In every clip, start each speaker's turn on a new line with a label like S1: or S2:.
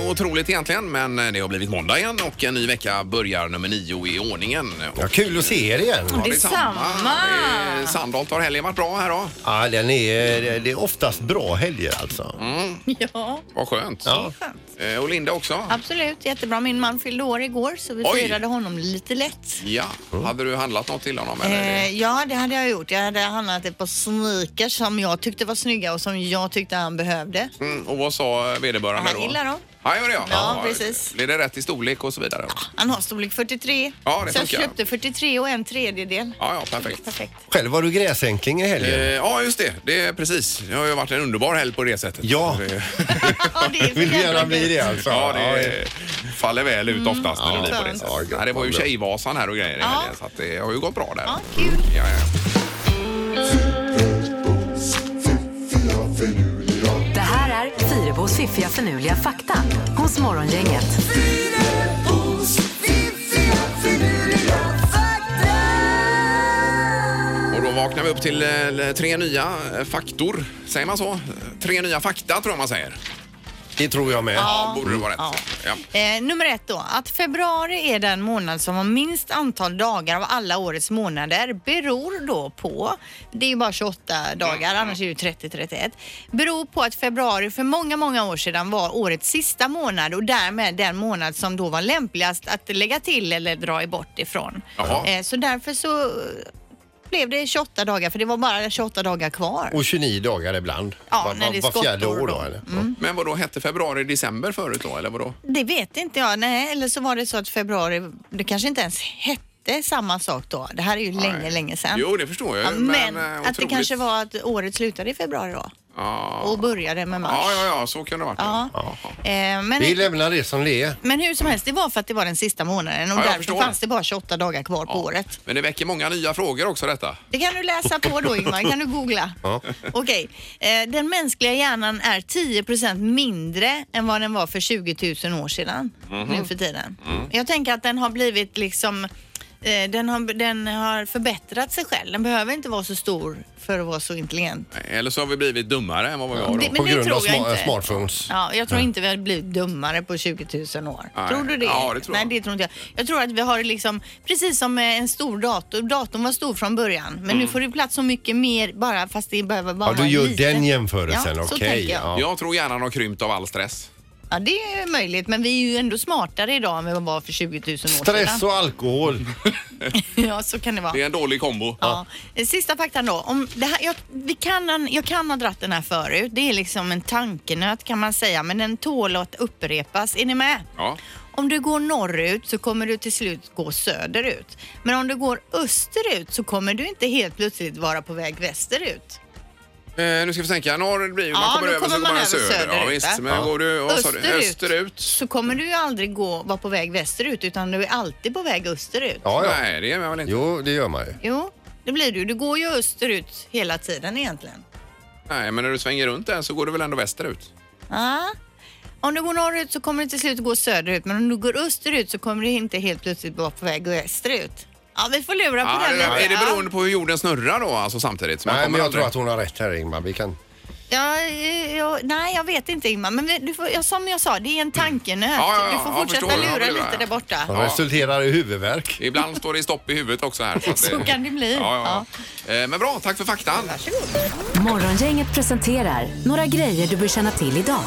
S1: otroligt egentligen, men eh, det har blivit måndag igen och en ny vecka börjar nummer nio i ordningen. Och
S2: Ja, kul att se er igen.
S1: det är
S3: Detsamma.
S1: samma. Det är- Sandholt, har helgen varit bra här då?
S2: Ja, den är, det är oftast bra helger alltså.
S1: Mm.
S3: Ja,
S1: Vad skönt.
S2: Ja.
S1: Eh, Och Linda också?
S3: absolut. Jättebra. Min man fyllde år igår så vi
S1: Oj.
S3: firade honom lite lätt.
S1: Ja.
S2: Mm.
S1: Hade du handlat något till honom? Eller?
S3: Eh, ja, det hade jag gjort. Jag hade handlat ett par sneakers som jag tyckte var snygga och som jag tyckte han behövde.
S1: Mm, och vad sa vederbörande
S3: Han
S1: då?
S3: gillar dem.
S1: Ja, gör det ja.
S3: Ja, precis.
S1: Blir det rätt i storlek och så vidare?
S3: Han har storlek 43.
S1: Ja, det
S3: så jag
S1: funkar.
S3: köpte 43 och en tredjedel.
S1: Ja, ja, perfekt.
S3: Perfekt.
S2: Själv var du gräsänkling i
S1: Eh,
S2: helgen.
S1: Ja, just det. Det är precis. Det har ju varit en underbar helg på det sättet.
S2: Ja.
S1: Det,
S3: Ja, det är för
S2: Vill du
S3: jävla
S2: gärna bli
S3: dyrt.
S2: det alltså?
S1: ja, det faller väl ut oftast när det
S2: Ja,
S1: blir på det
S3: Mm. skönt.
S1: sättet.
S2: Ja, gott,
S1: Nej, det var ju
S2: vad bra.
S1: Tjejvasan här och grejer i
S3: Ja.
S1: helgen, så att det har ju gått bra där.
S3: Ja, kul.
S1: Ja, ja.
S4: Det här är Fyrabos fiffiga förnuliga fakta hos Morgongänget.
S1: Och då vaknar vi upp till eh, tre nya eh, faktor. Säger man så? Tre nya fakta tror jag man säger.
S2: Det tror jag med.
S1: Ja, borde det vara rätt.
S3: Ja.
S1: Ja.
S3: Eh, nummer ett då, att februari är den månad som har minst antal dagar av alla årets månader beror då på, det är ju bara 28 dagar, annars är det ju 30-31, beror på att februari för många, många år sedan var årets sista månad och därmed den månad som då var lämpligast att lägga till eller dra bort ifrån.
S1: Jaha.
S3: Eh, så därför så blev det 28 dagar, för det var bara 28 dagar kvar.
S2: Och 29 dagar ibland.
S3: Ja, när det är
S2: var fjärde
S3: skottår
S2: år då
S3: då. Mm.
S2: eller?
S1: Men vad då hette februari december förut då, eller vadå?
S3: Det vet inte jag. Nej, eller så var det så att februari, det kanske inte ens hette samma sak då. Det här är ju länge, länge sedan.
S1: Jo, det förstår jag
S3: ja,
S1: ju,
S3: men
S1: eh,
S3: att det
S1: otroligt-
S3: kanske var att året slutade i februari då
S1: Ja.
S3: och började med mars.
S1: Ja, ja, ja, så kan det ha varit.
S3: Ja. Eh,
S2: Vi
S3: men,
S2: lämnar det som det är.
S3: men hur som helst, det var för att det var den sista månaden och
S1: Ja, jag
S3: därför
S1: förstår.
S3: fanns det bara 28 dagar kvar på året.
S1: Men det väcker många nya frågor också detta.
S3: Det kan du läsa på då Ingmar, kan du googla.
S2: Ja.
S3: Okej, eh, den mänskliga hjärnan är 10 mindre än vad den var för 20 000 år sedan
S2: Mhm.
S3: nu för tiden.
S2: Mm.
S3: Jag tänker att den har blivit liksom eh, den har, den har förbättrat sig själv. Den behöver inte vara så stor för att vara så intelligent.
S1: Eller så har vi blivit dummare än vad vi var då.
S3: Det- men
S2: På grund av
S3: tror jag
S2: sma-
S3: inte.
S2: smartphones.
S3: Ja, jag tror inte vi har blivit dummare på 20 000 år.
S1: Nej.
S3: Tror du det?
S1: Ja, det tror
S3: Nej,
S1: jag.
S3: det tror inte jag. Jag tror att vi har liksom, precis som eh, en stor dator. Datorn var stor från början, men nu får du plats så mycket mer bara fast det behöver bara
S2: Mm. Ja, du
S3: vara en
S2: gör
S3: liten.
S2: den jämförelsen.
S3: Ja, så
S2: Okej.
S3: tänker jag.
S2: ja.
S1: Jag tror hjärnan har krympt av all stress.
S3: Ja, det är möjligt, men vi är ju ändå smartare idag än vi var för 20 000 år
S2: Stress
S3: sedan.
S2: och alkohol.
S3: Ja, så kan det vara.
S1: Det är en dålig kombo.
S3: Ja. Sista faktan då. Om det här, jag, vi kan, jag kan ha dratt den här förut. Det är liksom en tankenöt kan man säga, men den tål att upprepas. Är ni med?
S1: Ja.
S3: Om du går norrut så kommer du till slut gå söderut. Men om du går österut så kommer du inte helt plötsligt vara på väg västerut.
S1: Eh, nu ska vi tänka. Norr blir
S3: Ja,
S1: man kommer
S3: då
S1: över så
S3: kommer
S1: går man
S3: man
S1: söder.
S3: över
S1: ja,
S3: söderut,
S1: visst.
S3: va?
S1: Men
S2: Ja.
S1: går du vad sa du?
S3: Österut.
S1: österut?
S3: Så kommer du ju aldrig gå, vara på väg västerut utan du är alltid på väg österut.
S2: Ja, ja.
S1: Nej, det är man väl inte?
S2: Jo, det gör man ju.
S3: Jo, det blir du. Du går ju österut hela tiden egentligen.
S1: Nej, men när du svänger runt där så går du väl ändå västerut?
S3: Ja. Om du går norrut så kommer du till slut gå söderut men om du går österut så kommer du inte helt plötsligt vara på väg västerut. Ja, vi får lura på
S1: Ja,
S3: den.
S1: det,
S3: lite.
S1: är det
S3: Ja.
S1: beroende på hur jorden snurrar då, alltså samtidigt? Så man
S2: Nej,
S1: kommer
S2: men jag
S1: aldrig-
S2: tror att hon har rätt här Ingmar. Vi kan...
S3: Ja, eh, ja, nej, jag vet inte Ingmar. Men vi- du får, ja, som jag sa, det är en tankenöt.
S1: Mm. Ja, ja, ja,
S3: du får
S1: ja,
S3: fortsätta
S1: förstår. Ja,
S3: lura
S1: det gör
S3: lite
S1: jag.
S3: där borta.
S2: Det resulterar i huvudvärk.
S1: Ibland står det stopp i huvudet också här. att
S3: Så kan det bli.
S1: Ja, ja, ja. Eh, Men bra, tack för faktan.
S4: Morgongänget presenterar några grejer du bör känna till idag.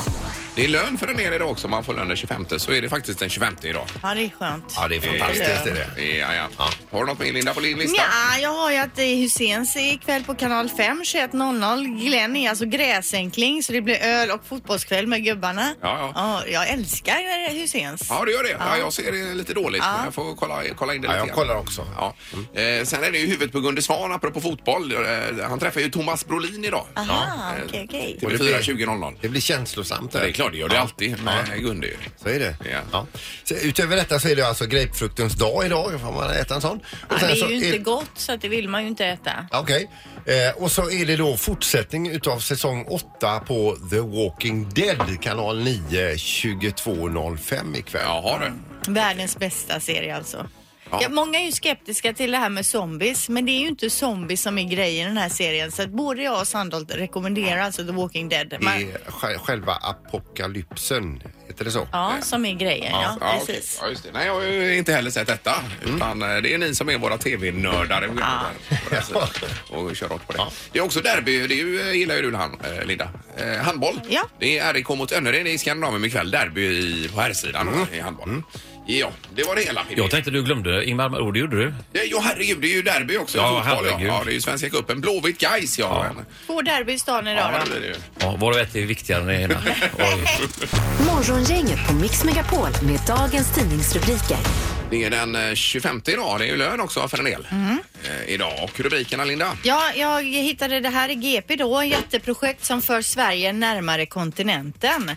S1: Det är lön för en del idag också. Man får lön den 25. Så är det faktiskt den 25 idag.
S3: Ja, det är skönt.
S2: Ja, det är
S1: fantastiskt,
S2: är det.
S1: Ja, ja. Har du något mer Linda på din lista?
S3: Ja, jag har ju att det är Husseins ikväll på kanal 5, 21.00. Glenn är alltså gräsänkling så det blir öl och fotbollskväll med gubbarna.
S1: Ja,
S3: ja. jag älskar eh, Husseins.
S1: Ja, du gör det. Ja, jag ser det lite dåligt, men jag får kolla, kolla in det
S2: Ja,
S1: lite
S2: jag
S1: grann.
S2: kollar också.
S1: Ja. Eh, sen är det ju huvudet på Gunde Svan, apropå fotboll. Eh, han träffar ju Thomas Brolin idag.
S3: Aha, okej, okej.
S1: Det blir 4.20.00.
S2: Det blir känslosamt.
S1: Det
S2: Där.
S1: är klart, det gör det alltid med Gunde ju.
S2: Så är det.
S1: Ja.
S2: Så utöver detta så är det alltså grapefruktens dag idag. Får man äta en sån? Och
S3: Ja,
S2: sen
S3: det är
S2: så
S3: ju inte
S2: det-
S3: gott så att det vill man ju inte äta.
S2: Ja, Okej. Eh, och så är det då fortsättning utav säsong 8 på The Walking Dead, kanal 9, 22.05 ikväll.
S1: Jaha du.
S3: Världens bästa serie alltså.
S1: Ja.
S3: Ja, många är ju skeptiska till det här med zombies, men det är ju inte zombies som är grejen i den här serien. Så att både jag och Sandholt rekommenderar alltså The Walking Dead. Man,
S2: I sj- själva apokalypsen, heter det så?
S3: ja, som är grejen. Ja,
S1: Ja, okej.
S3: precis. Mm.
S1: ja, just det. Nej, jag har ju inte heller sett detta. Utan eh, det är ni som är våra tv-nördar. och går där på det här sättet Och kör hårt på det. Det är också derby. Det är ju, eh, gillar ju du, han, eh, Linda. Eh, handboll.
S3: Ja.
S1: Det är RIK mot Önnered i Skandinavien ikväll. Derby i, på herrsidan
S3: Mm.
S1: i handboll. Ja, det var det hela. Pippi.
S5: Jag tänkte du glömde Ingmar Malmro, det gjorde du.
S1: Ja, jo, herregud, det är ju derby också.
S5: Ja,
S1: fotboll, ja.
S5: herregud.
S1: ja, det är ju Svenska cupen. Blåvitt Gais, ja. Ja,
S3: Två derby i stan idag
S1: det
S3: då.
S1: blir det ju.
S5: Ja, varav ett är viktigare än det ena. Oj.
S4: Morgongänget på Mix Megapol med dagens tidningsrubriker.
S1: Det är den eh, 25 idag. Det är ju lön också för en del.
S3: Mhm.
S1: Eh, idag. Och rubrikerna, Linda?
S3: Ja, jag hittade det här i GP då. Jätteprojekt som för Sverige närmare kontinenten.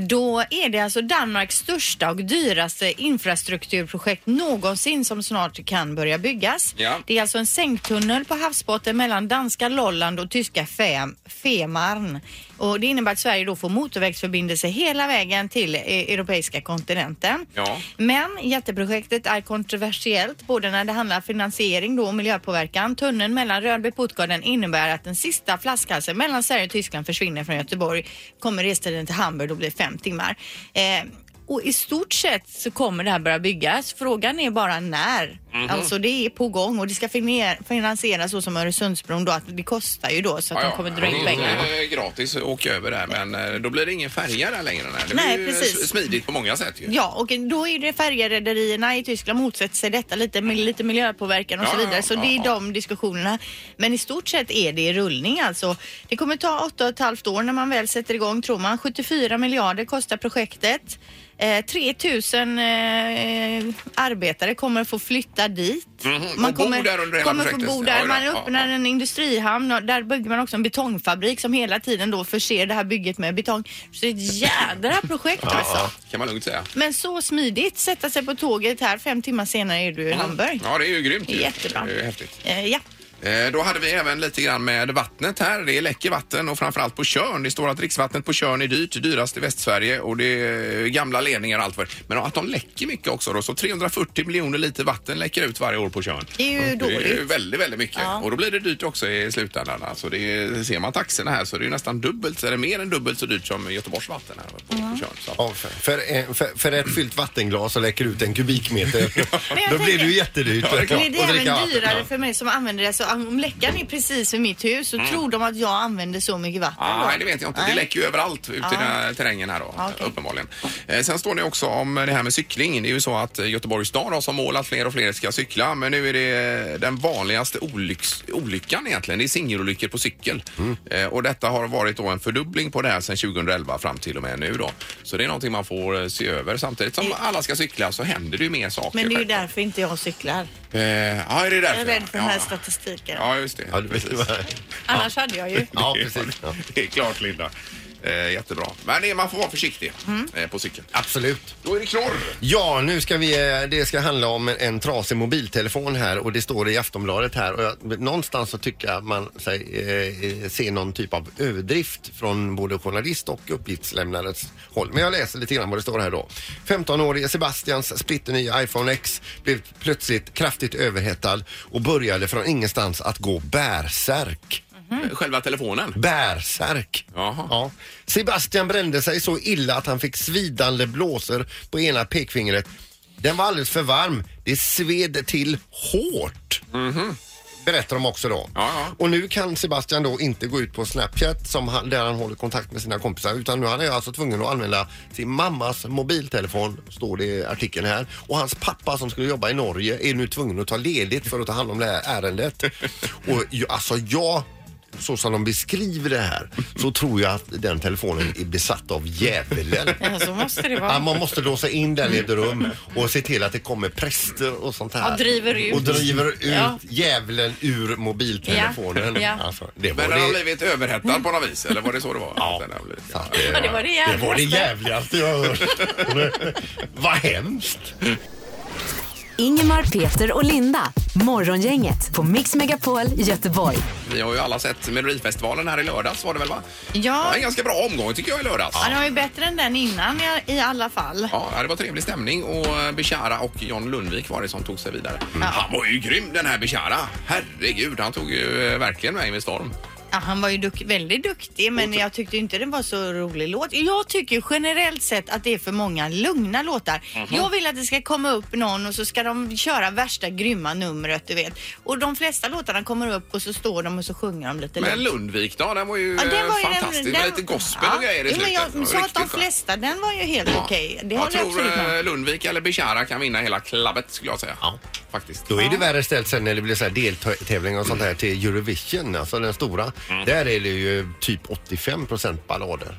S3: Då är det alltså Danmarks största och dyraste infrastrukturprojekt någonsin som snart kan börja byggas.
S1: Ja.
S3: Det är alltså en sänktunnel på havsbotten mellan danska Lolland och tyska Fem, Femarn. Och det innebär att Sverige då får motorvägsförbindelse hela vägen till eh, europeiska kontinenten.
S1: Ja.
S3: Men jätteprojektet är kontroversiellt både när det handlar om finansiering då och miljöpåverkan. Tunneln mellan Rödby och Puttgarden innebär att den sista flaskhalsen mellan Sverige och Tyskland försvinner från Göteborg. Kommer restiden till Hamburg och blir fem timmar. Eh, och i stort sett så kommer det här börja byggas. Frågan är bara när.
S1: Mhm.
S3: Alltså det är på gång och det ska finer- finansieras så som Öresundsbron då att det kostar ju då så att de kommer dra in
S1: det är ju,
S3: pengar.
S1: eh, gratis att åka över där men eh, då blir det ingen färja där längre. Nej, det
S3: Nej,
S1: blir ju
S3: precis.
S1: s- smidigt på många sätt ju.
S3: Ja, och då är det färjerederierna i Tyskland motsätter sig detta lite med lite miljöpåverkan och
S1: Ja,
S3: så
S1: ja,
S3: vidare. Så
S1: ja,
S3: det är
S1: ja.
S3: de diskussionerna. Men i stort sett är det i rullning alltså. Det kommer ta åtta och ett halvt år när man väl sätter igång tror man. 74 miljarder kostar projektet. Eh, 3000 eh, arbetare kommer få flytta dit.
S1: Mhm, och bo där under hela
S3: kommer få
S1: projektet.
S3: bo
S1: Ja,
S3: där.
S1: ja,
S3: Man
S1: ja,
S3: öppnar
S1: ja.
S3: en industrihamn och där bygger man också en betongfabrik som hela tiden då förser det här bygget med betong. Så det är ett jädra projekt alltså.
S1: Kan man lugnt säga.
S3: Men så smidigt, sätta sig på tåget här fem timmar senare är
S1: Mm.
S3: du i Hamburg.
S1: Ja, det är ju grymt. Ju.
S3: Jättebra.
S1: Det är ju häftigt.
S3: Eh, ja.
S1: Eh, Då hade vi även lite grann med vattnet här. Det är läcker vatten och framförallt på Tjörn. Det står att dricksvattnet på Tjörn är dyrt, dyrast i Västsverige och det är gamla ledningar och allt för. Men att de läcker mycket också då. Så 340 miljoner liter vatten läcker ut varje år på Tjörn.
S3: Det är ju
S1: Det är ju
S3: dåligt.
S1: väldigt, väldigt mycket.
S3: Ja.
S1: Och då blir det dyrt också i slutändan. Alltså det är, ser man taxorna här så det är ju nästan dubbelt, eller mer än dubbelt så dyrt som Göteborgs vatten här på, på Tjörn. Så.
S2: Ja, för, för, eh, för, för ett fyllt vattenglas så läcker ut en kubikmeter.
S3: jag
S2: Då blir
S3: tänker-
S2: det ju jättedyrt.
S1: Ja, det är klart.
S3: Blir det
S2: att dricka
S3: även
S2: vatten.
S3: dyrare för mig som använder det? Så om läckan är precis vid mitt hus så tror de att jag använder så mycket vatten
S1: Ah,
S3: då?
S1: nej, det vet jag inte.
S3: Nej.
S1: Det läcker ju överallt ut i den här terrängen här då,
S3: Ja, okej.
S1: uppenbarligen. Eh, sen står det också om det här med cykling. Det är ju så att Göteborgs stad har som mål att fler och fler ska cykla, men nu är det den vanligaste olycks, olyckan egentligen. Det är singelolyckor på cykel.
S2: Mm.
S1: Eh, och detta har varit då en fördubbling på det här sedan 2011 fram till och med nu då. Så det är någonting man får eh, se över. Samtidigt som alla ska cykla så händer det ju mer saker.
S3: Men det är ju
S1: självklart.
S3: därför inte jag cyklar.
S1: Eh, ja, är det därför?
S3: Jag är rädd för den här
S1: ja.
S3: statistiken.
S1: Ja, just det.
S2: Ja, du vet
S1: Precis.
S2: vad-
S3: Annars hade jag ju.
S2: Ja, precis. Ja.
S1: Det är klart Linda. Eh, jättebra. Men det, man får vara försiktig
S3: Mm.
S1: eh, på cykeln.
S2: Absolut.
S1: Då är det knorr.
S2: Ja, nu ska vi, eh, det ska handla om en, en trasig mobiltelefon här och det står i Aftonbladet här och jag, någonstans så tycker jag man sig, eh, eh, ser någon typ av överdrift från både journalist och uppgiftslämnares håll. Men jag läser lite grann vad det står här då. 15-årige Sebastians splitternya iPhone X blev plötsligt kraftigt överhettad och började från ingenstans att gå bärsärk.
S3: Mm.
S1: Eh, Själva
S2: Mm.
S1: telefonen.
S2: Bärsärk.
S1: Jaha.
S2: Ja. Sebastian brände sig så illa att han fick svidande blåsor på ena pekfingret. Den var alldeles för varm. Det sved till hårt. Berättar de också då.
S1: Mhm. Ja, ja.
S2: Och nu kan Sebastian då inte gå ut på Snapchat som han, där han håller kontakt med sina kompisar utan nu han är alltså tvungen att använda sin mammas mobiltelefon står det i artikeln här. Och hans pappa som skulle jobba i Norge är nu tvungen att ta ledigt för att ta hand om det här ärendet. Och ju- alltså jag så som de beskriver det här så tror jag att den telefonen är besatt av djävulen.
S3: Ja, så måste det
S2: Ja,
S3: vara.
S2: man måste låsa in den i ett rum och se till att det kommer präster och sånt här.
S3: Ja, driver ut.
S2: Och driver ut
S3: Ja.
S2: djävulen ur mobiltelefonen.
S3: Ja. Ja.
S2: Alltså, det var
S1: Men den har
S2: det, Mm.
S1: blivit överhettad på något vis, eller var det så det var? Ja. Den har blivit, ja.
S3: Ja, det var det
S2: det var det
S3: jävligaste.
S2: jävligaste jag har hört. Vad hemskt.
S4: Ingemar, Peter och Linda. Morgongänget på Mix Megapol Göteborg.
S1: Vi har ju alla sett Melodifestivalen här i lördags var det väl va?
S3: Ja.
S1: Ja, en ganska bra omgång tycker jag i lördags.
S3: Ja, den var ju bättre än den innan i- i alla fall.
S1: Ja, det var trevlig stämning och eh, Bechara och John Lundvik var det som tog sig vidare.
S3: Mm.
S1: Han var ju grym den här Bechara. Herregud, han tog ju eh, verkligen mig med storm.
S3: Ja, han var ju duk- väldigt duktig men jag tyckte inte det var så rolig låt. Jag tycker generellt sett att det är för många lugna låtar.
S1: Mhm.
S3: Jag vill att det ska komma upp någon och så ska de köra värsta grymma numret du vet. Och de flesta låtarna kommer upp och så står de och så sjunger de lite
S1: Men
S3: lugnt.
S1: Lundvik då, den var ju
S3: Ja,
S1: eh,
S3: den var ju den-
S1: fantastisk
S3: den-
S1: med lite gospel
S3: ja.
S1: och grejer i
S3: Jo, men
S1: slutet. Det var
S3: jag sa att de
S1: riktigt skönt.
S3: flesta, den var ju helt okej. Det
S1: jag
S3: håller jag
S1: tror
S3: absolut med om.
S1: eh, Lundvik eller Bechara kan vinna hela klabbet skulle jag säga. Ja. Faktiskt.
S2: Då är det värre ställt sen när det blir så här deltävlingar och sånt här till Eurovision, alltså den stora. Där är det ju typ 85 procent ballader.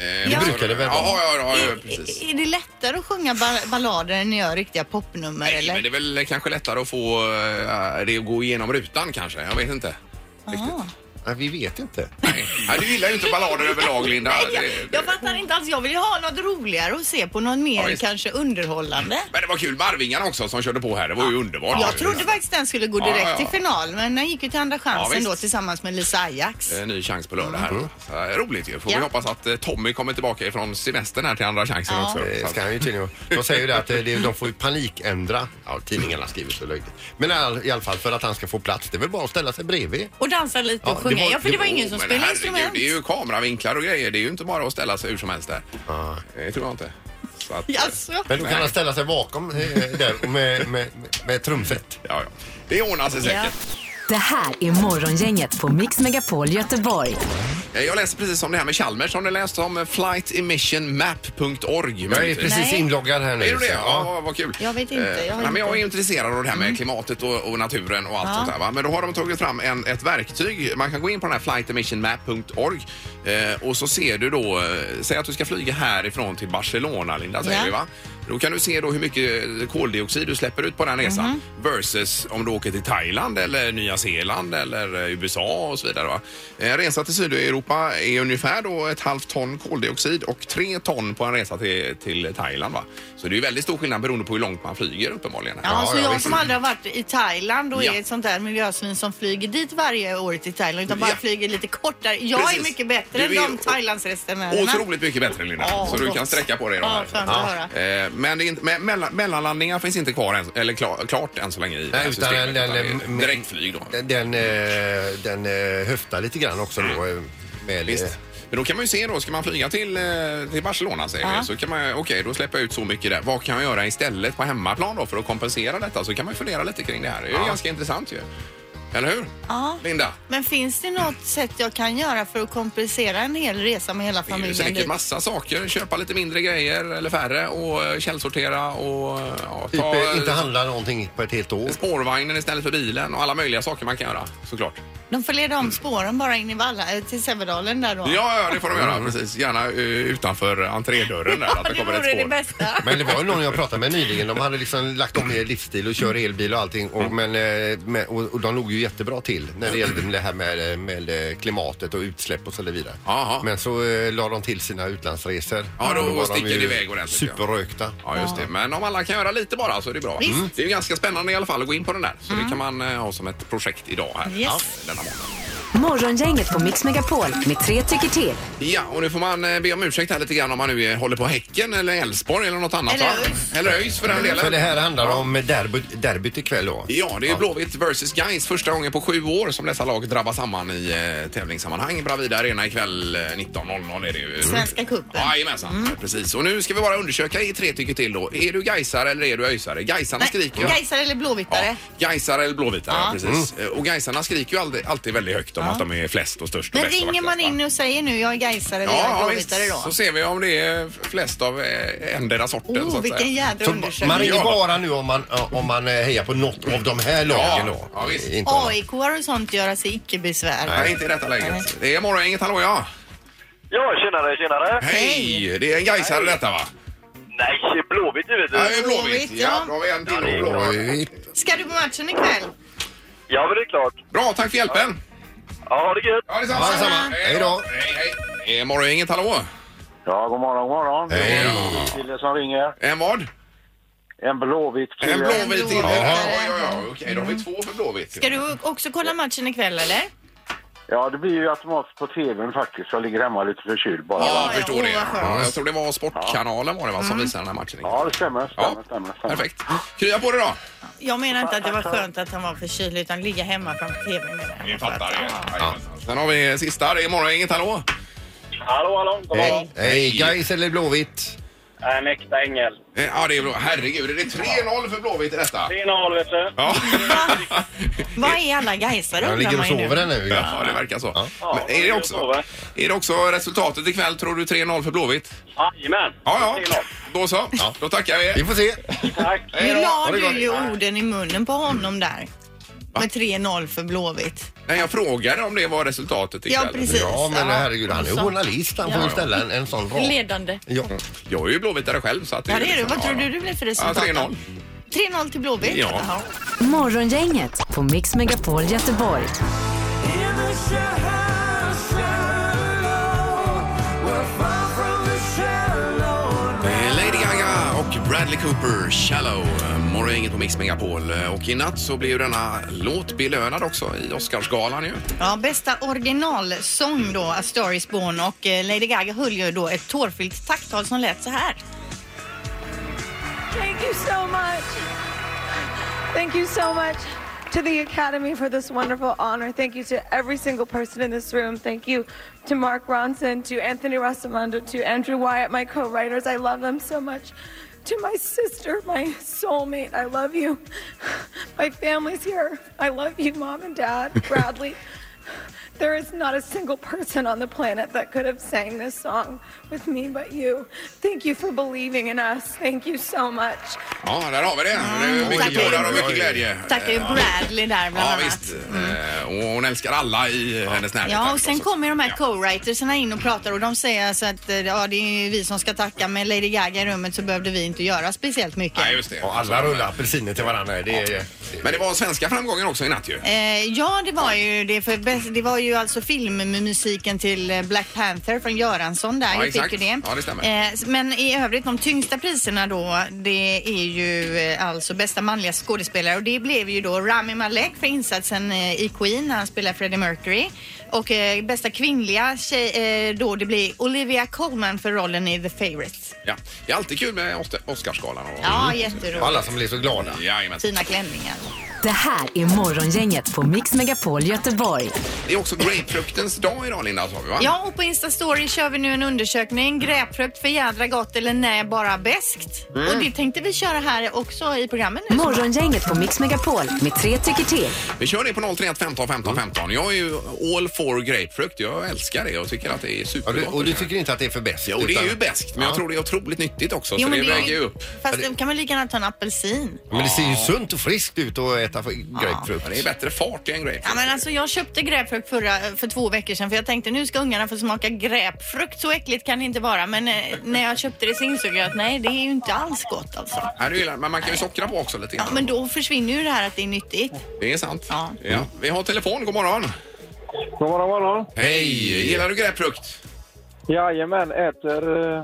S1: Eh,
S3: Ja.
S1: vad sa
S2: brukar det väl
S1: Ja,
S2: vara?
S1: ja, ja, ja, precis.
S3: Är, är det lättare att sjunga ba- ballader än att göra riktiga popnummer
S1: Nej,
S3: eller?
S1: men det är väl kanske lättare att få eh, det att gå igenom rutan kanske. Jag vet inte.
S3: Ah.
S1: Riktigt.
S2: Nej, vi vet inte.
S1: Nej. Nej, du gillar ju inte ballader överlag, Linda. Det- det-
S3: Jag fattar inte alls. Jag vill ju ha något roligare att se på, något mer
S1: Ja, visst.
S3: kanske underhållande.
S1: Men det var kul med Arvingarna också som körde på här. Det var ju underbart.
S3: Jag trodde faktiskt den skulle gå
S1: Ja,
S3: direkt
S1: ja.
S3: till final men den gick ju till Andra chansen
S1: visst.
S3: då tillsammans med Lisa Ajax.
S1: Eh, Ny chans på lördag här.
S2: Mm.
S1: Så, eh, roligt ju. Får
S3: Ja.
S1: vi hoppas att eh, Tommy kommer tillbaka ifrån semestern här till andra chansen
S3: Ja.
S1: också. Så
S2: Det
S1: att-
S2: Eh, ska han ju tydligen vara. De säger ju det att eh, det, de får ju panikändra. Ja, tidningarna skriver så löjligt. Men i all, i alla fall för att han ska få plats. Det är väl bara att ställa sig bredvid.
S3: Och dansa lite
S2: Ja,
S3: och
S2: det
S3: sjunga.
S2: var-
S3: ja, för det var
S1: Jo,
S3: ingen som
S1: men
S3: spelade
S1: herregud,
S3: instrument.
S1: Det är ju kameravinklar och grejer. Det är ju inte bara att ställa sig hur som helst där. Det tror jag inte. Så att, eh,
S3: Jaså?
S2: Men då kan
S1: Nej.
S2: han ställa sig bakom eh, där och med, med, med, med trumset.
S1: Ja, ja. Det ordnar sig säkert.
S4: Det här är Morgongänget på Mix Megapol Göteborg.
S1: Eh, Jag läste precis om det här med Chalmers. Har ni läst om eh, flightemmissionmap.org?
S2: Jag är
S1: möjligtvis?
S2: precis
S3: Nej.
S2: inloggad här nu.
S1: Är du det?
S2: så-
S1: Ja, vad- vad kul.
S3: Jag vet inte, jag har
S1: Eh, nej,
S3: inte-
S1: men jag är ju intresserad av det här med klimatet och, och naturen och allt
S3: Mm. Ja.
S1: sånt där. Va? Men då har de tagit fram en, ett verktyg. Man kan gå in på den här flightemmissionmap.org eh, och så ser du då, eh, säg att du ska flyga härifrån till Barcelona, Linda, säger
S3: Ja.
S1: vi va? Då kan du se då hur mycket eh, koldioxid du släpper ut på den resan
S3: Mhm.
S1: versus om du åker till Thailand eller Nya Zeeland eller eh, USA och så vidare. Va? En resa till Sydeuropa är ungefär då ett halvt ton koldioxid och tre ton på en resa till, till Thailand. Va? Så det är ju väldigt stor skillnad beroende på hur långt man flyger uppenbarligen.
S3: Ja, så
S2: ja,
S3: jag
S2: visst.
S3: som aldrig har varit i Thailand och
S1: Ja.
S3: är ett sånt där miljösvin som flyger dit varje år till Thailand utan bara
S1: Ja.
S3: flyger lite kortare. Jag är
S1: Precis.
S3: mycket bättre
S1: Du
S3: än
S1: är
S3: de
S1: o-
S3: Thailandsresenärerna.
S1: Otroligt mycket bättre Linda,
S3: Ja,
S1: så du
S3: gott.
S1: kan sträcka på dig i de
S3: Ja,
S1: här.
S3: skönt att höra.
S1: Eh, Men, det är inte, men mellan, mellanlandningar finns inte kvar än, eller klar, klart än så länge i det här
S2: Nej, utan
S1: systemet.
S2: den, den,
S1: utan det är
S2: mm,
S1: direktflyg då.
S2: Den, den, eh, den eh, höftar lite grann också då. eh, Med, eh,
S1: Mm. Visst. Men då kan man ju se då, ska man flyga till, eh, till Barcelona säger vi,
S3: Ja.
S1: så kan man, okej då släpper jag ut så mycket där. Vad kan jag göra istället på hemmaplan då för att kompensera detta? Så kan man ju fundera lite kring det här. Det är ju ganska intressant ju. Eller hur?
S3: Ja.
S1: Linda?
S3: Men finns det något sätt jag kan göra för att kompensera en hel resa med hela
S1: Det är ju
S3: familjen?
S1: säkert
S3: dit?
S1: massa saker. Köpa lite mindre grejer eller färre och eh, källsortera och eh, ja,
S2: Typ
S1: ta
S2: eh, inte
S1: eh,
S2: handla någonting på ett helt år.
S1: spårvagnen istället för bilen och alla möjliga saker man kan göra såklart.
S3: De får leda om spåren bara in i Valla, eh, till Sävedalen där då.
S1: Ja, ja det får de göra precis. Gärna eh, utanför entrédörren där.
S3: Ja,
S1: att det
S3: det
S1: kommer ett
S3: vore
S1: spår.
S3: det
S1: Mm.
S3: bästa.
S2: Men det var ju någon jag pratade med nyligen. De hade liksom lagt om mer livsstil och kör elbil och allting. Och,
S1: Mm.
S2: men, eh, med, och, och de låg ju jättebra till när det gällde det här med, eh, med eh, klimatet och utsläpp och så vidare.
S1: Jaha.
S2: Men så eh, la de till sina utlandsresor.
S1: Ja, då
S2: var de
S1: sticker det
S2: ju
S1: iväg ordentligt, ja.
S2: Superrökta.
S1: Ja, just det. Men om alla kan göra lite bara så är det bra. Mm.
S3: Visst. Mm.
S1: Det är ju ganska spännande i alla fall att gå in på den där. Så det kan man eh, ha som ett projekt idag här.
S3: Yes.
S1: Ja, denna måndag.
S4: Morgongänget på Mix Megapol med tre tycker till.
S1: Ja, och nu får man eh, be om ursäkt här lite grann om man nu eh, håller på Häcken eller Älvsborg eller något annat.
S3: Eller
S1: va?
S3: ÖIS.
S1: Eller ÖIS för den delen.
S2: För det här handlar om derbyt, derbyt ikväll då.
S1: Ja, det är ju Blåvitt versus Gais första gången på sju år som dessa lag drabbas samman i eh, tävlingssammanhang. Bravida Arena ikväll eh, 19.00 är det ju.
S3: Svenska cupen.
S1: Ja, Jajamensan,
S3: Mm.
S1: precis. Och nu ska vi bara undersöka i tre tycker till då. Är du Gaisare eller är du öisare? Gaisarna skriker ju...
S3: Gaisare eller Blåvittare?
S1: Ja, Gaisare eller blåvitare,
S3: Ja. Mm.
S1: precis. Eh, Och Gaisarna skriker ju alltid, alltid väldigt högt om att de är flest och störst och
S3: Men
S1: bäst och
S3: ringer man
S1: vackrast, va?
S3: in och säger nu jag är Gaisare eller jag är
S1: Ja, ja
S3: Blåvittare
S1: visst.
S3: då?
S1: Så ser vi om det är flest av eh, endera sorten. så
S3: Oh,
S1: att
S3: vilken
S1: säga.
S3: jädra
S2: Så man
S3: undersökning.
S2: ringer
S1: Ja.
S2: bara nu om man, om man eh, hejar på något av de här lagen
S1: Ja,
S2: då.
S1: ja, visst.
S2: Inte om-
S3: AIK och sånt göra sig alltså icke besvär.
S1: Nej, inte i detta
S3: Nej.
S1: läget. Det är morgon, inget hallå ja.
S6: Ja, tjenare, tjenare.
S1: Hej! Det är en Gaisare detta va?
S6: Nej, Blåvitt givetvis.
S1: Ja, det är Blåvitt.
S3: Blåvitt,
S1: Ja,
S3: ja.
S1: då har vi en till.
S6: det är
S1: Blå.
S3: Ska du på matchen ikväll?
S6: Ja, men det är klart.
S1: Bra, tack för hjälpen.
S6: Ja, ha det gött.
S1: Ja, detsamma.
S2: Ja, detsamma. Hej då.
S1: Hej, hej. Det är Morgongänget, hallå.
S6: Ja, god morgon, god morgon.
S2: Hej.
S6: Kille som ringer.
S1: En vad?
S7: En blåvit
S1: En
S7: kille.
S1: blåvit till.
S3: Jaha.
S1: Ja, ja, ja. Okej, då har vi två för blåvitt.
S3: Ska du också kolla matchen ikväll eller?
S7: Ja, det blir ju automatiskt på tvn faktiskt. Jag ligger hemma lite förkyld bara.
S1: Ja,
S7: Ja,
S1: jag förstår
S3: Ja,
S1: det.
S3: åh, vad skönt.
S1: Ja, jag tror det var Sportkanalen var det va, som visade den här matchen.
S7: ja det stämmer. stämmer,
S1: Ja,
S7: stämmer, stämmer.
S1: perfekt. Krya på det då!
S3: Jag menar inte att det var skönt att han var förkyld utan ligga hemma framför tvn med det.
S1: Vi fattar det. Ja. Sen har vi sista. Det är morgongänget. Hallå!
S6: Hallå, hallå, god morgon.
S2: Hej, guys eller Blåvitt?
S6: En äkta ängel.
S1: Eh, Ja, det är bra. Herregud, är det 3-0 för Blåvitt i detta?
S6: 3-0, vet du.
S1: Ja.
S3: Vad är alla Gaisare
S2: Han
S3: undrar
S2: ligger och
S3: man ju
S2: sover
S3: nu.
S2: där nu. ju.
S1: ja, det verkar så.
S6: Ja,
S1: Men är det,
S6: jag
S1: också,
S6: sover.
S1: är det också resultatet ikväll, tror du, 3-0 för Blåvitt?
S6: Jajamän.
S1: Ja, ja.
S6: 3-0.
S1: Då så. Då tackar
S2: Vi
S1: vi.
S2: får se.
S6: Tack.
S1: Hej
S3: Nu
S1: då.
S3: la
S1: Ha det gott.
S3: du ju orden i munnen på honom där. Med 3-0 för Blåvitt.
S1: Nej, jag frågade om det var resultatet ikväll.
S3: Ja, precis.
S2: Ja, men
S1: Alltså,
S3: Ja.
S2: herregud, han är ju
S3: Så.
S2: journalist. Han får ju ställa en, en sån rak.
S3: Ledande.
S2: Ja.
S1: Jag är ju blåvittare själv. Så att
S3: Ja, det är du.
S1: liksom-
S3: Vad tror
S1: ja,
S3: du det blir för
S1: Ja,
S3: resultat?
S1: 3-0.
S3: 3-0 till Blåvitt?
S1: Ja.
S3: Jaha.
S4: Morgongänget på Mix Megapol Göteborg.
S1: Eh, Lady Gaga och Bradley Cooper, Shallow. Eh, Morgongänget på Mix Megapol. Eh, Och i natt så blir ju denna låt belönad också i Oscarsgalan ju.
S3: Ja, bästa originalsång då, A Star Is Born och eh, Lady Gaga höll ju då ett tårfyllt tacktal som lät så här.
S8: Thank you so much. Thank you so much to the Academy for this wonderful honor. Thank you to every single person in this room. Thank you to Mark Ronson, to Anthony Rosamondo, to Andrew Wyatt, my co writers. I love them so much. To my sister, my soulmate, I love you. My family's here. I love you, mom and dad, Bradley. There is not a single person on the planet that could have sang this song with me but you. Thank you for believing in us. Thank you so much.
S1: Ja, där har vi det.
S3: Mm.
S1: det är mycket
S3: Tackar.
S1: tårar och mycket glädje.
S3: Tackar ju
S2: Eh.
S3: Bradley där bland
S1: Ja,
S3: annat.
S1: visst. Eh, Och hon älskar alla i hennes närhet.
S3: Ja,
S1: här
S3: och sen
S1: förstås.
S3: kommer de här co-writerserna in och pratar och de säger alltså att eh, ja, det är vi som ska tacka men Lady Gaga i rummet så behövde vi inte göra speciellt mycket.
S1: Nej, just det.
S2: Och alla rullar apelsiner till varandra. Det är,
S1: Men det var svenska framgångar också i natt ju.
S3: Eh, ja, det var ju det. För bäst- det var ju alltså filmmusiken till eh, Black Panther från Göransson där.
S1: Ja,
S3: Jag
S1: exakt.
S3: fick ju det.
S1: Ja, det stämmer.
S3: Eh, s- men i övrigt, de tyngsta priserna då, det är ju eh, alltså bästa manliga skådespelare och det blev ju då Rami Malek för insatsen eh, i Queen när han spelar Freddie Mercury. Och eh, bästa kvinnliga tjej, eh, då, det blir Olivia Colman för rollen i The Favourites.
S1: Ja. Det är alltid kul med Os- Oscarsgalan. Och...
S3: Ja,
S2: och alla
S3: jätteroligt.
S2: som blir så glada.
S1: Jajamän.
S3: Fina klänningar.
S4: Det här är Morgongänget på Mix Megapol Göteborg.
S1: Det är också grapefruktens dag idag, Linda, sa vi va?
S3: Ja, och på Insta Story kör vi nu en undersökning. Gräpfrukt för jädra gott eller nej, bara beskt. Och det tänkte vi köra här också i programmet nu.
S4: Morgongänget på Mix Megapol med tre tycker till.
S1: Vi kör det på 031 15 15 15. Jag är ju all for grapefrukt. Jag älskar det och tycker att det är
S2: Och du,
S1: supergott.
S2: och du tycker inte att det är för bäst?
S1: Jo, det är
S2: utan-
S1: ju bäst, men
S2: Ja.
S1: jag tror det är otroligt nyttigt också. så det,
S3: är
S1: väger ju
S3: ju-
S1: upp.
S3: Fast då kan man lika gärna ta en apelsin.
S2: Men det ser ju sunt och friskt ut att äta för- grapefrukt.
S1: Ja, det är bättre fart i en grapefrukt.
S3: Ja, men alltså, jag köpte gräpfrukt förra, för två veckor sedan för jag tänkte nu ska ungarna få smaka gräpfrukt. Så äckligt kan det inte vara. Men eh, när jag köpte det så insåg jag att nej, det är ju inte alls gott alltså.
S1: Nej, du gillar, men man kan ju sockra på också lite
S3: Ja,
S1: grann.
S3: men då försvinner ju det här att det är nyttigt.
S1: Det är sant.
S3: Ja.
S1: Ja. Vi har telefon. God morgon.
S7: God morgon, god morgon.
S1: Hej! Gillar du gräpfrukt?
S7: Jajamän, äter eh,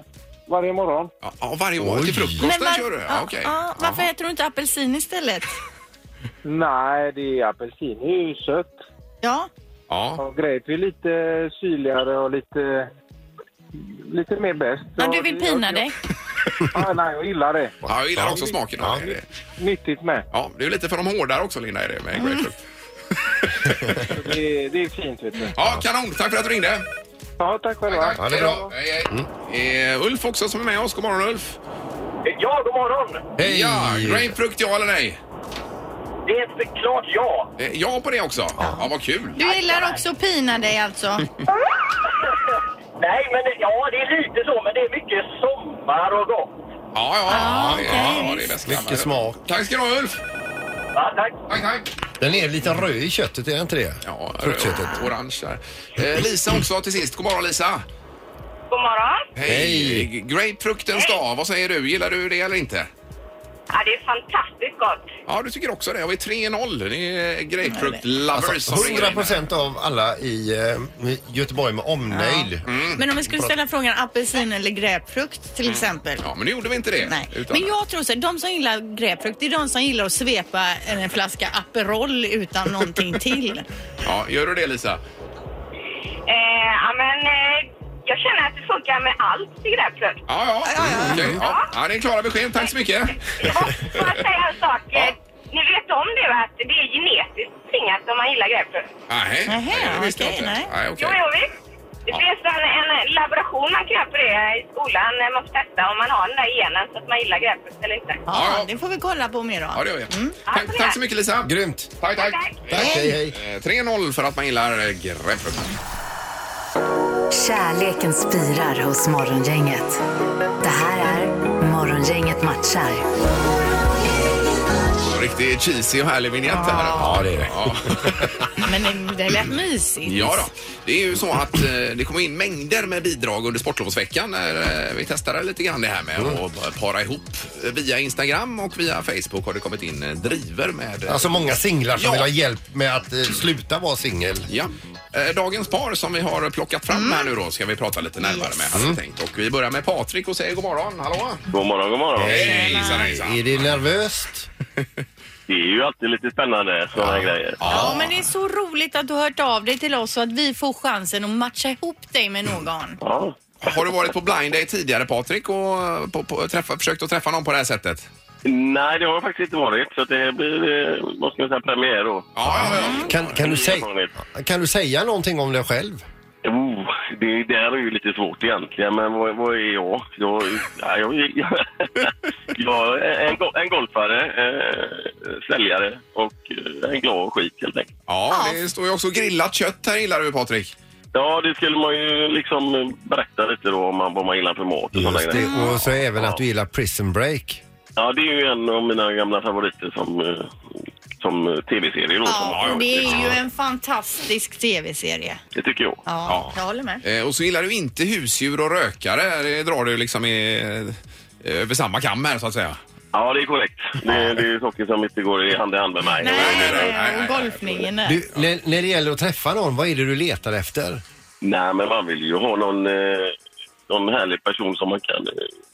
S7: varje morgon.
S1: Ja, ja, varje år
S2: Oj.
S1: till frukosten
S3: var-
S1: kör du? Ja,
S3: ja,
S1: okej.
S3: ja, varför äter du inte apelsin istället?
S7: Nej, det är apelsin. Det är ju sött.
S3: Ja,
S1: Ja.
S7: Och grape är lite syrligare och lite, lite mer bäst.
S3: men
S7: Och
S3: du vill
S7: det-
S3: pina
S7: jag-
S3: dig.
S7: Ja, nej, jag gillar det.
S1: ja, jag gillar också smaken av det.
S7: Nyttigt med.
S1: Ja, det är ju lite för de hårdare också, Linda, är det med grapefrukt.
S7: Det, det är fint, vet du.
S1: Ja, kanon! Tack för att du ringde.
S7: Ja, tack själva.
S1: Tack.
S2: Ja, det
S1: Hej
S2: är
S1: då.
S2: bra.
S1: Hej, hej. Eh, Ulf också som är med oss. God morgon, Ulf.
S6: Ja, god morgon.
S2: Hej!
S1: Ja, grapefrukt, ja eller nej?
S6: Det är ett klart ja.
S1: Eh, Ja på det också. Ja, vad kul.
S3: Du gillar också att pina dig alltså?
S1: Mm.
S6: Nej, men det- ja, det är lite så, men det är mycket sommar och gott.
S1: Ja, ja, ja,
S3: okej,
S1: ja, ja, det är
S3: visst.
S1: bäst.
S2: Mycket smak.
S1: Tack ska du ha, Ulf.
S6: Ja, tack.
S1: Tack, tack.
S2: Den är lite röd i köttet, är den inte det?
S1: Ja,
S2: Fruktköttet.
S1: orange där. Eh, Lisa också till sist. God morgon, Lisa.
S9: God morgon.
S1: Hej! Grapefruktens dag, vad säger du? Gillar du det eller inte?
S9: Ja, Ja, det är fantastiskt gott.
S1: Ja, du tycker också det. Och vi är 3-0. Det är Grapefruit Lovers
S2: Alltså,
S1: som ringer in
S2: 100
S1: här.
S2: procent av alla i eh, Göteborg med omnejd.
S3: Men om vi skulle ställa frågan apelsin eller gräpfrukt till exempel.
S1: Mm. Ja, men nu gjorde vi inte det.
S3: Nej.
S1: Utan-
S3: Men jag tror så här, de som gillar gräpfrukt, det är de som gillar att svepa en flaska Aperol utan någonting till.
S1: Ja, gör du det Lisa?
S9: Eh, ja, men eh, jag känner att det funkar med allt till gräpplöd.
S1: Ja, ja. Mm, Okej, ja. ja, det är klara besked. Tack så mycket.
S9: Och får jag säga en sak?
S1: Ja.
S9: Eh, Ni vet om det va? Att det är genetiskt betingat om man gillar gräpplöd.
S1: Nej,
S3: Nähä,
S1: det visste jag
S3: okej,
S1: inte.
S3: nej.
S1: Nej,
S9: Jo,
S1: okej.
S9: jo, visst. Det
S1: Ja.
S9: finns en, en laboration man kan göra på det i skolan. när Man får testa om man har den där genen så att man gillar gräpplöd eller inte.
S1: Ja, ja.
S3: Ja, det får vi kolla på mer
S1: Ja,
S3: av.
S1: det gör
S9: Mm.
S1: vi. Tack, tack så mycket Lisa.
S2: Grymt.
S1: Tack, tack.
S9: Tack.
S2: Tack, hej, hej.
S1: Eh, 3-0 för att man gillar eh, gräpfrukt.
S4: Kärleken spirar hos Morgongänget. Det här är Morgongänget matchar.
S1: Riktigt cheesy och härlig vignett här. Ja, det är det.
S3: Men det, det lät mysigt.
S1: Ja då. Det är ju så att eh, det kommer in mängder med bidrag under sportlovsveckan. När, eh, vi testade lite grann det här med att para ihop. Eh, Via Instagram och via Facebook har det kommit in eh, driver med... eh,
S2: Alltså många singlar som
S1: Ja.
S2: vill ha hjälp med att eh, sluta vara singel.
S1: Ja. Eh, Dagens par som vi har plockat fram här nu då ska vi prata lite närmare med hade vi tänkt. Och vi börjar med Patrik och säger god morgon. Hallå!
S6: God morgon, god morgon.
S1: Hej, hejsan, hejsan.
S2: Är det nervöst?
S6: Det är ju alltid lite spännande sådana här grejer.
S3: Ja, men det är så roligt att du har hört av dig till oss så att vi får chansen att matcha ihop dig med någon.
S6: Ja.
S1: Har du varit på blind date tidigare Patrik och eh, på, på, träffa, försökt att träffa någon på det här sättet?
S6: Nej, det har jag faktiskt inte varit. Så det blir, eh, vad ska man säga, premiär då.
S1: Ja, ja, ja.
S2: Kan, kan, du
S6: Ny
S2: säg,
S6: erfarenhet.
S2: kan du säga någonting om dig själv?
S6: Oh, det där är ju lite svårt egentligen, men vad, vad är jag? Jag, ja, jag, jag, jag är en, go- en golfare, eh, säljare och eh, en glad skit helt enkelt.
S1: ja det står ju också grillat kött här gillar du Patrik.
S6: Ja, det skulle man ju liksom berätta lite då om man, vad man gillar för mat och sådana
S2: Just
S6: grejer.
S2: det. Och så även att du gillar prison break.
S6: Ja, det är ju en av mina gamla favoriter som, eh, som eh, tv-serie då. som har
S3: Ja, och
S6: varit
S3: det
S6: lite.
S3: är ju en fantastisk tv-serie.
S6: Det tycker jag.
S3: Ja,
S1: Ja.
S3: jag håller med.
S1: Eh, och så gillar du inte husdjur och rökare. Det drar du liksom i, eh, över samma kam här så att säga.
S6: Ja, det är korrekt. Det, det är saker som inte går i hand i hand med mig.
S3: Nej, nej,
S1: nej, nej,
S3: nej,
S1: nej.
S3: och golfningen.
S2: Du, när, när det gäller att träffa någon, vad är det du letar efter?
S6: Nej, men man vill ju ha någon, eh, någon härlig person som man kan eh,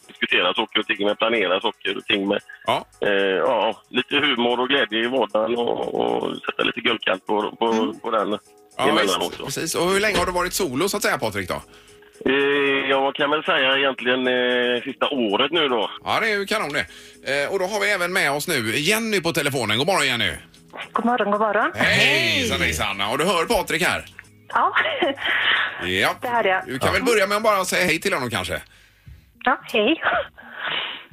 S6: diskutera saker och ting med, planera saker och ting med.
S1: Ja.
S6: Eh, ja, lite humor och glädje i vardagen och, och sätta lite guldkant på, på, på den
S1: Ja,
S6: emellanåt.
S1: visst,
S6: då.
S1: precis. Och hur länge har du varit solo så att säga Patrik då?
S6: Eh, ja, vad kan man säga egentligen eh, sista året nu då?
S1: Ja, det är ju kanon det. Eh, och då har vi även med oss nu Jenny på telefonen. God morgon Jenny!
S9: God morgon, god morgon.
S1: Hej! Hejsan hejsan! Och du hör Patrik här?
S9: Ja,
S1: Ja.
S9: det här är jag.
S1: Du kan väl börja med att bara säga hej till honom kanske?
S9: Ja, hej.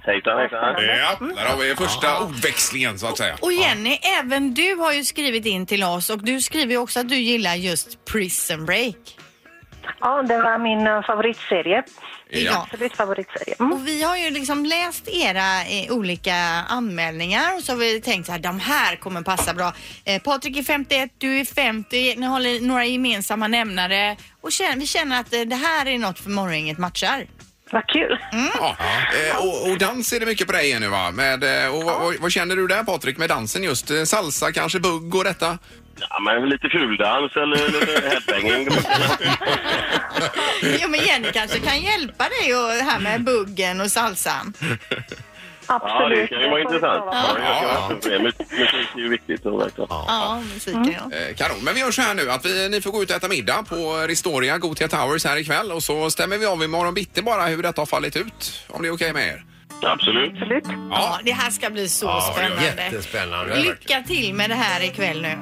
S6: Hejsan, hejsan.
S1: Ja, där har vi första ordväxlingen så att säga.
S3: Och Jenny, även du har ju skrivit in till oss och du skriver ju också att du gillar just Prison Break.
S9: Ja, det var min eh, favoritserie.
S1: Ja.
S9: Absolut favoritserie. Mm.
S3: Och vi har ju liksom läst era eh, olika anmälningar och så har vi tänkt så här, de här kommer passa bra. Eh, Patrik är 51, du är 50, ni har några gemensamma nämnare och känner, vi känner att eh, det här är något för morgongänget matchar.
S9: Vad kul.
S1: Ja. Eh, och, och dans är det mycket på dig Jenny va? Med, eh, och, vad- vad- vad känner du där Patrik med dansen just? Eh, Salsa kanske, bugg och detta?
S6: Ja, men lite fuldans eller lite headbanging.
S3: Jo men Jenny kanske kan hjälpa dig och det här med buggen och salsan.
S6: ja, det
S9: Absolut.
S6: kan ju vara
S9: får vi
S6: intressant.
S9: prova.
S6: Ja, jag kan ha problem. Musik är ju viktigt. som sagt.
S3: Ja, musiken ja.
S1: Eh, kanon. Men vi gör så här nu att vi, ni får gå ut och äta middag på Ristoria Gothia Towers här ikväll och så stämmer vi av imorgon bitti bara hur detta har fallit ut. Om det är okej med er?
S6: Absolut.
S9: Absolut.
S3: Ja, det här ska bli så spännande.
S2: Jättespännande.
S3: Lycka till med det här ikväll nu.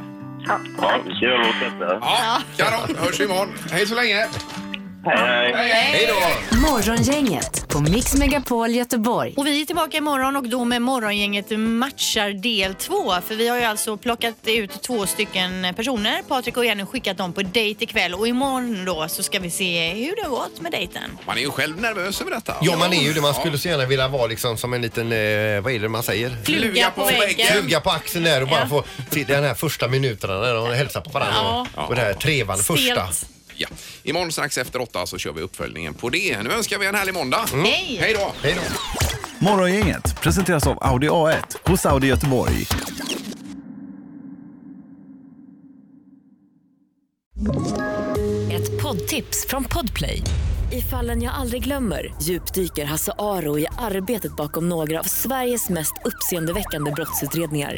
S9: Ja.
S6: Ja, vi ska göra vårt bästa.
S1: Ja, kanon. Hörs vi imorgon. Hej så länge.
S6: Hej, hej.
S2: Hej då!
S4: Morgongänget på Mix Megapol Göteborg.
S3: Och vi är tillbaka imorgon och då med Morgongänget matchar del två. För vi har ju alltså plockat ut två stycken personer. Patrik och Jenny har skickat dem på dejt ikväll och imorgon då så ska vi se hur det har gått med dejten.
S1: Man är ju själv nervös över detta.
S2: Ja, man är ju det. Man skulle så gärna vilja vara liksom som en liten, eh, vad är det man säger?
S1: Fluga på väggen.
S2: Fluga på axeln där och bara få till den här första minuterna när de hälsar på varandra.
S3: Ja.
S2: Och det här trevande första.
S3: Stelt.
S1: Ja. Imorgon strax efter åtta så kör vi uppföljningen på det. Nu önskar vi en härlig måndag.
S3: Hej!
S1: Hej då!
S2: Hej då.
S10: Morgongänget presenteras av Audi A1 hos Audi Göteborg.
S4: Ett poddtips från Podplay. I fallen jag aldrig glömmer djupdyker Hasse Aro i arbetet bakom några av Sveriges mest uppseendeväckande brottsutredningar.